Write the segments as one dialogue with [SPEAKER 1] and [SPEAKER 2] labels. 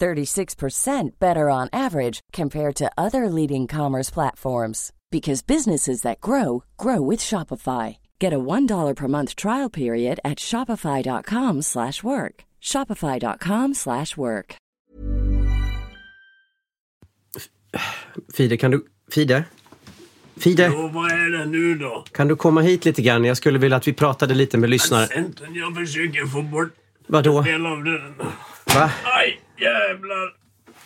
[SPEAKER 1] 36% better on average compared to other leading commerce platforms because businesses that grow grow with Shopify. Get a $1 per month trial period at shopify.com/work. slash work. shopify.com/work. slash work.
[SPEAKER 2] Fide, kan du... Fide? Fide,
[SPEAKER 3] Jo, vad är det nu då?
[SPEAKER 2] kan du komma hit lite grann? Jag skulle vilja att vi pratade lite med lyssnare.
[SPEAKER 3] Centern, jag försöker få bort
[SPEAKER 2] Vadå?
[SPEAKER 3] en del av den.
[SPEAKER 2] Va?
[SPEAKER 3] Aj, jävlar,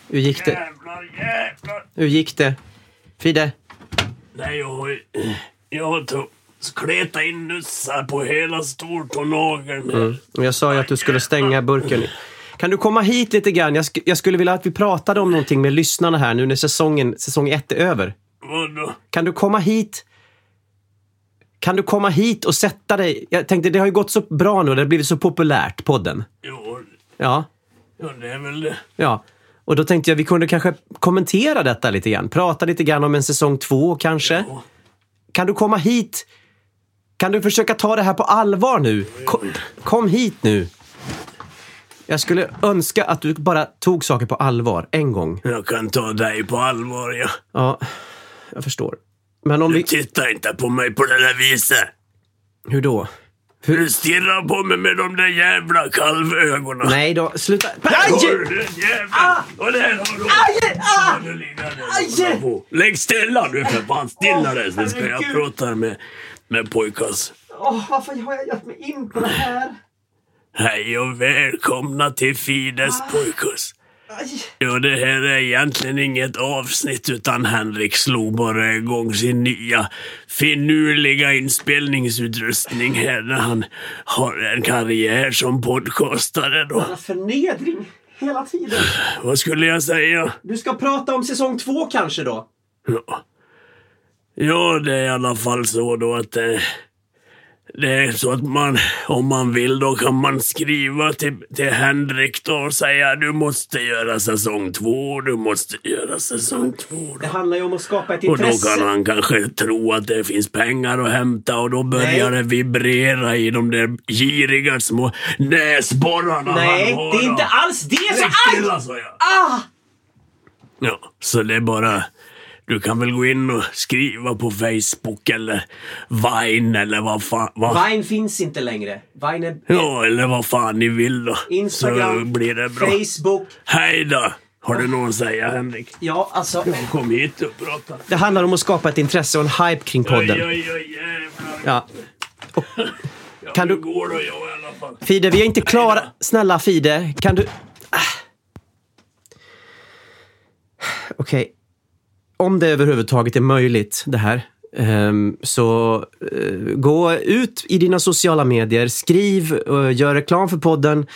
[SPEAKER 2] Hur gick det?
[SPEAKER 3] jävlar, jävlar.
[SPEAKER 2] Hur gick det? Fide?
[SPEAKER 3] Nej, jag har ju... Jag har to- kletat in nussar på hela stortånageln. Mm.
[SPEAKER 2] Och Jag sa ju att du skulle stänga burken. Kan du komma hit lite grann? Jag, sk- jag skulle vilja att vi pratade om någonting med lyssnarna här nu när säsongen, säsong ett är över.
[SPEAKER 3] Vadå?
[SPEAKER 2] Kan du komma hit? Kan du komma hit och sätta dig? Jag tänkte, det har ju gått så bra nu. Det har blivit så populärt, podden.
[SPEAKER 3] Jo,
[SPEAKER 2] Ja,
[SPEAKER 3] ja, det är väl det.
[SPEAKER 2] ja. Och då tänkte jag vi kunde kanske kommentera detta lite grann. Prata lite grann om en säsong två kanske. Kan du komma hit? Kan du försöka ta det här på allvar nu? Kom, kom hit nu. Jag skulle önska att du bara tog saker på allvar en gång.
[SPEAKER 3] Jag kan ta dig på allvar, ja.
[SPEAKER 2] Ja, jag förstår. Men om vi...
[SPEAKER 3] Titta inte på mig på det där viset.
[SPEAKER 2] Hur då?
[SPEAKER 3] Du stirrar på mig med de där jävla kalvögonen.
[SPEAKER 2] Nej då, sluta.
[SPEAKER 3] Hör du,
[SPEAKER 2] Ah!
[SPEAKER 3] jävlar! Och där har du! Aj! Nu ligger den och håller på. Lägg stilla nu för fan! Stilla dig så ska jag prata med, med pojkas.
[SPEAKER 2] Åh, varför har jag gett mig in på det här?
[SPEAKER 3] Hej och välkomna till Fides
[SPEAKER 2] Ah!
[SPEAKER 3] pojkas. Ja, det här är egentligen inget avsnitt utan Henrik slog bara igång sin nya finurliga inspelningsutrustning här när han har en karriär som podcastare då.
[SPEAKER 2] Förnedring hela tiden.
[SPEAKER 3] Vad skulle jag säga?
[SPEAKER 2] Du ska prata om säsong två kanske då?
[SPEAKER 3] Ja. ja, det är i alla fall så då att eh, det är så att man, om man vill då kan man skriva till, till Henrik då och säga du måste göra säsong två, du måste göra säsong två. Då.
[SPEAKER 2] handlar ju om att skapa ett
[SPEAKER 3] Och då kan han kanske tro att det finns pengar att hämta och då börjar
[SPEAKER 2] Nej.
[SPEAKER 3] det vibrera i de där giriga små näsborrarna han har. då.
[SPEAKER 2] alls det
[SPEAKER 3] Lägg stilla sa jag.
[SPEAKER 2] Alltså, Ah!
[SPEAKER 3] Ja, så det är bara... Du kan väl gå in och skriva på Facebook eller Vine eller vad fan... Vad,
[SPEAKER 2] Vine finns inte längre. Vine är...
[SPEAKER 3] ja, eller vad fan ni vill då. så
[SPEAKER 2] Instagram,
[SPEAKER 3] blir det bra.
[SPEAKER 2] Facebook.
[SPEAKER 3] Hej då! Har du någon att säga Henrik?
[SPEAKER 2] Ja, alltså.
[SPEAKER 3] Kom hit och prata.
[SPEAKER 2] Det handlar om att skapa ett intresse och en hype kring podden.
[SPEAKER 3] Oj, oj, oj, jävlar.
[SPEAKER 2] Ja.
[SPEAKER 3] Ja,
[SPEAKER 2] kan
[SPEAKER 3] nu
[SPEAKER 2] du-
[SPEAKER 3] går då jag i alla fall.
[SPEAKER 2] Fide, vi är inte klara. Snälla Fide, kan du... Ah. Okej. Om det överhuvudtaget är möjligt, det här, ehm, så eh, gå ut i dina sociala medier, skriv, eh, gör reklam för podden.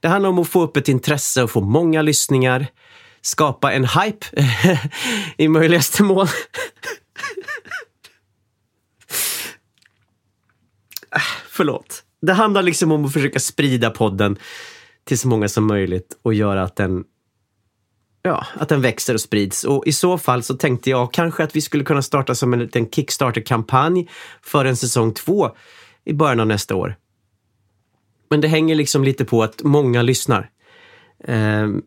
[SPEAKER 2] Det handlar om att få upp ett intresse och få många lyssningar. Skapa en hype i möjligaste mån. förlåt. Det handlar liksom om att försöka sprida podden till så många som möjligt och göra att den Ja, att den växer och sprids. Och i så fall så tänkte jag kanske att vi skulle kunna starta som en liten Kickstarter-kampanj för en säsong två i början av nästa år. Men det hänger liksom lite på att många lyssnar. Ehm,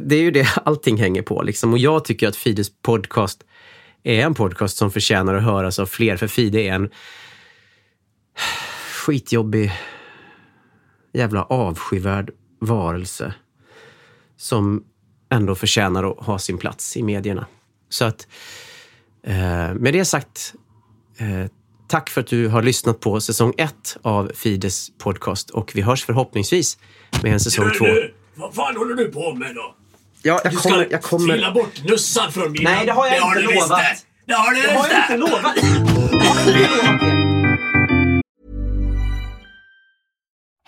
[SPEAKER 2] det är ju det allting hänger på liksom. Och jag tycker att Fides podcast är en podcast som förtjänar att höras av fler. För Fide är en skitjobbig jävla avskyvärd varelse som ändå förtjänar att ha sin plats i medierna. Så att, eh, med det sagt, eh, tack för att du har lyssnat på säsong ett av Fides podcast och vi hörs förhoppningsvis med en säsong två.
[SPEAKER 3] Du, vad fan håller du på med då?
[SPEAKER 2] Ja, jag
[SPEAKER 3] Du
[SPEAKER 2] kommer,
[SPEAKER 3] ska
[SPEAKER 2] jag kommer.
[SPEAKER 3] fila bort nussar från mina...
[SPEAKER 2] Nej, det har jag inte
[SPEAKER 3] du visst
[SPEAKER 2] lovat.
[SPEAKER 3] det. Det har du
[SPEAKER 2] Det har
[SPEAKER 3] visst
[SPEAKER 2] jag inte
[SPEAKER 3] det!
[SPEAKER 2] lovat! Det har jag inte lovat er.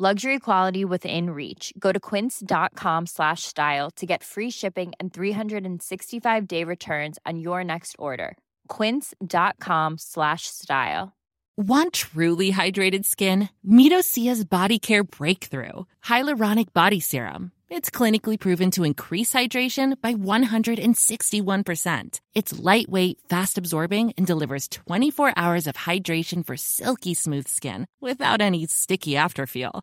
[SPEAKER 4] Luxury quality within reach. Go to quince.com slash style to get free shipping and 365 day returns on your next order. Quince.com slash style.
[SPEAKER 5] Want truly hydrated skin? Meet Osea's Body Care Breakthrough Hyaluronic Body Serum. It's clinically proven to increase hydration by 161%. It's lightweight, fast absorbing, and delivers 24 hours of hydration for silky smooth skin without any sticky afterfeel.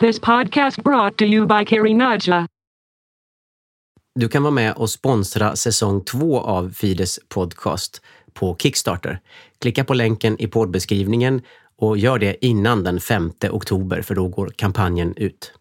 [SPEAKER 6] This podcast brought to you by Karinaja.
[SPEAKER 2] Du kan vara med och sponsra säsong två av Fides podcast på Kickstarter. Klicka på länken i poddbeskrivningen och gör det innan den 5 oktober för då går kampanjen ut.